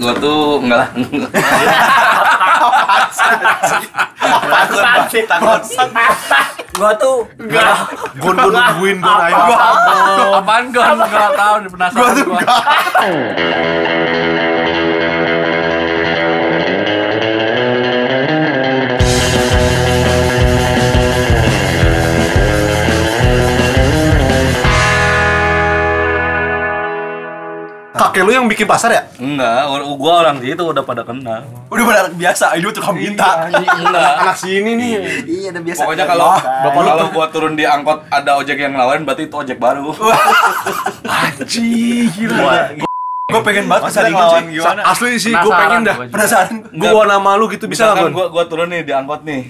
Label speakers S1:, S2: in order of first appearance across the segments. S1: Gua tuh enggak lah.
S2: Takut, takut.
S3: Gua tuh enggak
S2: Gun, gun, nungguin, gun, ayo.
S4: Apaan gue Kan nggak tahu nih penasaran gue.
S2: Kakek lu yang bikin pasar ya?
S1: Enggak, or- gua orang situ udah pada kenal.
S5: Udah benar biasa, ini tuh kamu
S4: Iya,
S5: minta.
S1: Enggak.
S2: Anak sini nih.
S5: Iya, udah biasa.
S1: Pokoknya kalau
S5: Bapak lu
S1: kalau gua turun di angkot ada ojek yang ngelawan berarti itu ojek baru.
S2: Cih, gila.
S5: gue pengen banget
S2: Maksudnya
S5: bisa ngelawan
S2: ngelawan
S5: gimana.
S2: Asli sih, gue pengen dah.
S5: gitu Penasaran gua.
S2: Gua nama lu gitu bisa
S1: Misalkan
S2: nggak, Gun?
S1: gua gua turun nih di angkot nih.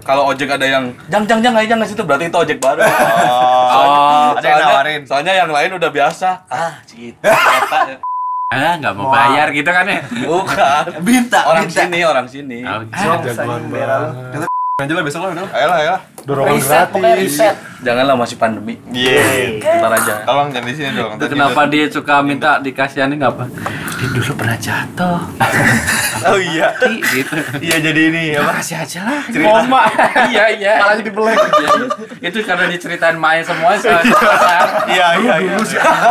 S1: Kalau ojek ada yang jang jang jang aja nggak situ berarti itu ojek baru.
S4: Oh,
S5: Ada yang
S1: Soalnya-
S5: nawarin.
S1: Soalnya yang lain udah biasa. Ah, gitu. Ternyata-
S4: ah nggak mau bayar gitu kan
S5: Iya.
S4: ya?
S1: Bukan.
S5: Minta,
S1: Orang
S5: minta.
S1: sini, orang sini.
S4: Oh,
S2: Jagoan banget.
S5: Aja lah besok lah udah.
S6: Ayolah, ayolah.
S2: Dorongan
S3: riset, pokoknya
S2: gratis.
S3: riset.
S1: Janganlah masih pandemi.
S6: Iya.
S1: Ntar aja.
S6: Tolong jangan di sini dong.
S4: Itu kenapa
S5: Iya.
S4: dia suka minta dikasihani nggak apa? Dia dulu pernah jatuh.
S5: Oh iya.
S4: Ih, gitu. Ya,
S5: Iya jadi ini apa?
S4: Kasih aja lah. Koma. Iya iya. Malah jadi belek. Itu karena diceritain main semua.
S5: Iya iya iya.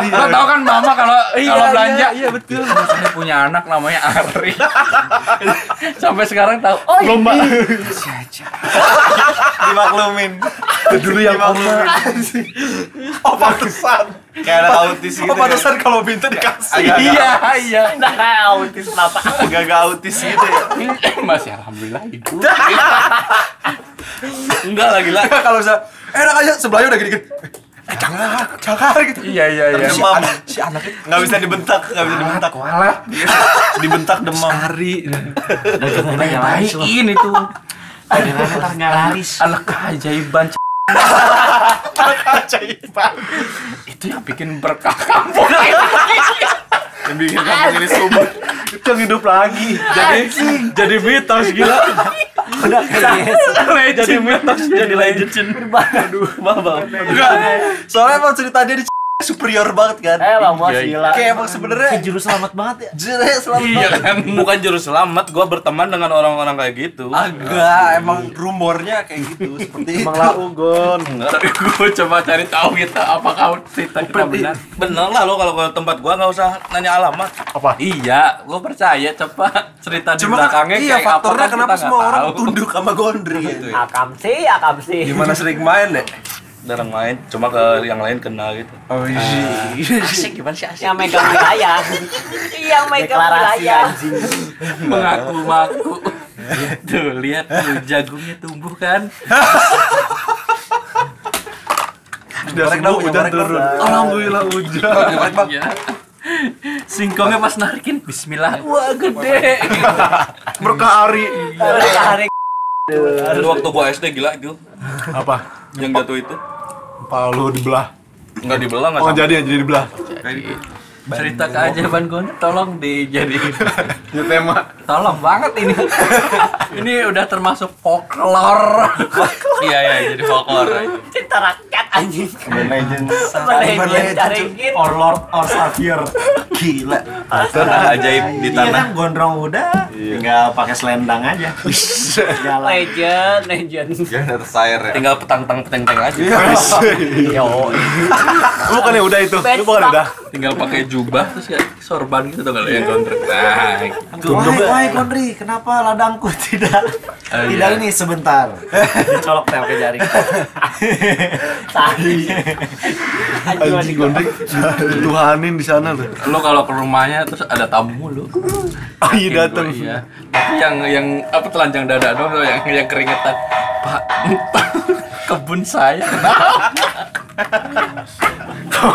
S4: Lo tau kan mama kalau kalau belanja, iya betul. Saya punya anak namanya Ari. Sampai sekarang tahu. Oh iya. Kasih aja.
S5: Dimaklumin.
S2: Dulu yang
S5: Dimaklumin. Oh pantesan.
S6: Kayak ada autis gitu.
S5: Oh
S6: ya.
S5: pantesan kalau minta dikasih.
S6: Agak-agak.
S4: Iya iya.
S3: Nah, autis kenapa?
S5: Agak-agak autis gitu ya.
S4: Eh, Masih alhamdulillah ibu.
S1: Enggak lagi lah.
S5: Kalau bisa "Eh, enak aja sebelahnya udah gede-gede. Eh jangan, jangan gitu.
S4: Iya iya iya.
S5: Demam. Si anaknya nggak bisa dibentak, nggak bisa dibentak. Iya,
S4: Kualat.
S5: Dibentak demam.
S4: Ari. Yang lain itu. Ada yang laris. Anak keajaiban. c-
S5: Ajaiban.
S4: Itu yang bikin berkah kampung.
S6: Yang bikin kamu jadi subur.
S2: Itu yang hidup lagi. Jadi jadi mitos gila.
S1: Jadi mitos, jadi legend. Aduh, mabang.
S5: Enggak. Soalnya emang cerita dia di superior banget kan.
S4: Iya,
S3: Eh, Bang Bos gila.
S5: Kayak emang sebenarnya
S3: Juru selamat banget ya.
S5: jelek selalu.
S1: Iya kan, bukan juru selamat, gua berteman dengan orang-orang kayak gitu.
S5: Ah. Agak emang rumornya kayak gitu seperti itu.
S2: Emang lau, Gon.
S4: Tapi gue coba cari tahu gitu apakah cerita kita benar.
S1: Bener lah lo kalau ke tempat gua nggak usah nanya alamat.
S2: Apa?
S4: Iya, gue percaya coba cerita di
S5: Cuma kan,
S4: belakangnya
S5: iya
S4: kayak apa
S5: faktornya
S4: kan
S5: kenapa
S4: kita
S5: semua
S4: nggak
S5: orang
S4: tahu.
S5: tunduk sama Gondri gitu ya.
S3: Akam sih, akam sih.
S5: Gimana sering main deh?
S1: Jarang main, cuma ke yang lain kenal gitu.
S5: Oh iya.
S3: Yang megang wilayah. Yang megang wilayah.
S4: mengaku-ngaku. tuh lihat tuh jagungnya tumbuh kan.
S2: Dari
S5: dong,
S2: hujan
S5: nyamperin
S2: turun.
S5: dong.
S2: Alhamdulillah hujan.
S4: Iya. Singkongnya pas narikin Bismillah. Wah gede.
S2: Berkah Ari.
S3: Tarik.
S1: Itu waktu gua SD gila itu,
S2: Apa?
S1: yang jatuh itu.
S2: Palu dibelah.
S1: Nggak dibelah, nggak
S2: Oh
S1: sampai. gitu.
S2: jadi jadi dibelah.
S4: cerita keajaiban gue tolong dijadiin.
S6: Itu tema.
S4: Tolong banget ini. ini udah termasuk folklore.
S1: Iya, iya, jadi folklore.
S3: Cinta rakyat anjing.
S6: Legend.
S3: Sebenarnya dia cariin.
S7: Or Lord or Xavier
S5: Gila.
S1: Tanah ajaib di
S7: Iya
S1: tanah.
S7: kan gondrong udah Tinggal pakai selendang aja Jalan
S3: Legend, legend.
S6: Jangan ada tersair ya.
S1: Tinggal petang-tang peteng-teng aja.
S2: Lu bukan ya udah itu. Lu bukan ya udah.
S1: Tinggal pakai jubah terus ya sorban gitu tuh kalau yang kontrak. Nah,
S7: Wahai, wahai Kondri, kenapa ladangku tidak
S4: Eh,
S7: Tidak
S4: iya.
S7: ini sebentar Dicolok teh pakai jari
S3: Tarik. Ajuan
S2: Anjing
S3: di
S2: Gondri. Tuhanin di sana tuh.
S4: Lu kalau ke rumahnya terus ada tamu lu.
S2: Oh iya datang.
S4: datang Iya. Tapi yang yang apa telanjang dada doang tuh, yang yang keringetan. Pak, kebun saya.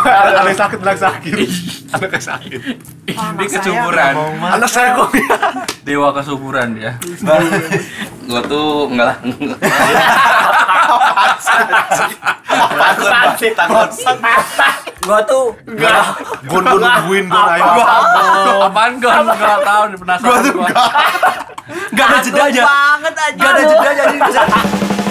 S2: Anak anak sakit anak sakit.
S4: Anak sakit. Ini kesuburan.
S2: Anak saya kok.
S4: Dewa kesuburan dia.
S1: gua tuh enggak lah.
S5: Takut, takut, takut.
S3: Gua tuh
S2: Gon gon nungguin gon ayo.
S4: Oh, Apaan gue nggak tahu nih penasaran gua.
S5: Gak ada jeda aja.
S3: banget aja.
S5: Gak ada jeda aja. Jadi bisa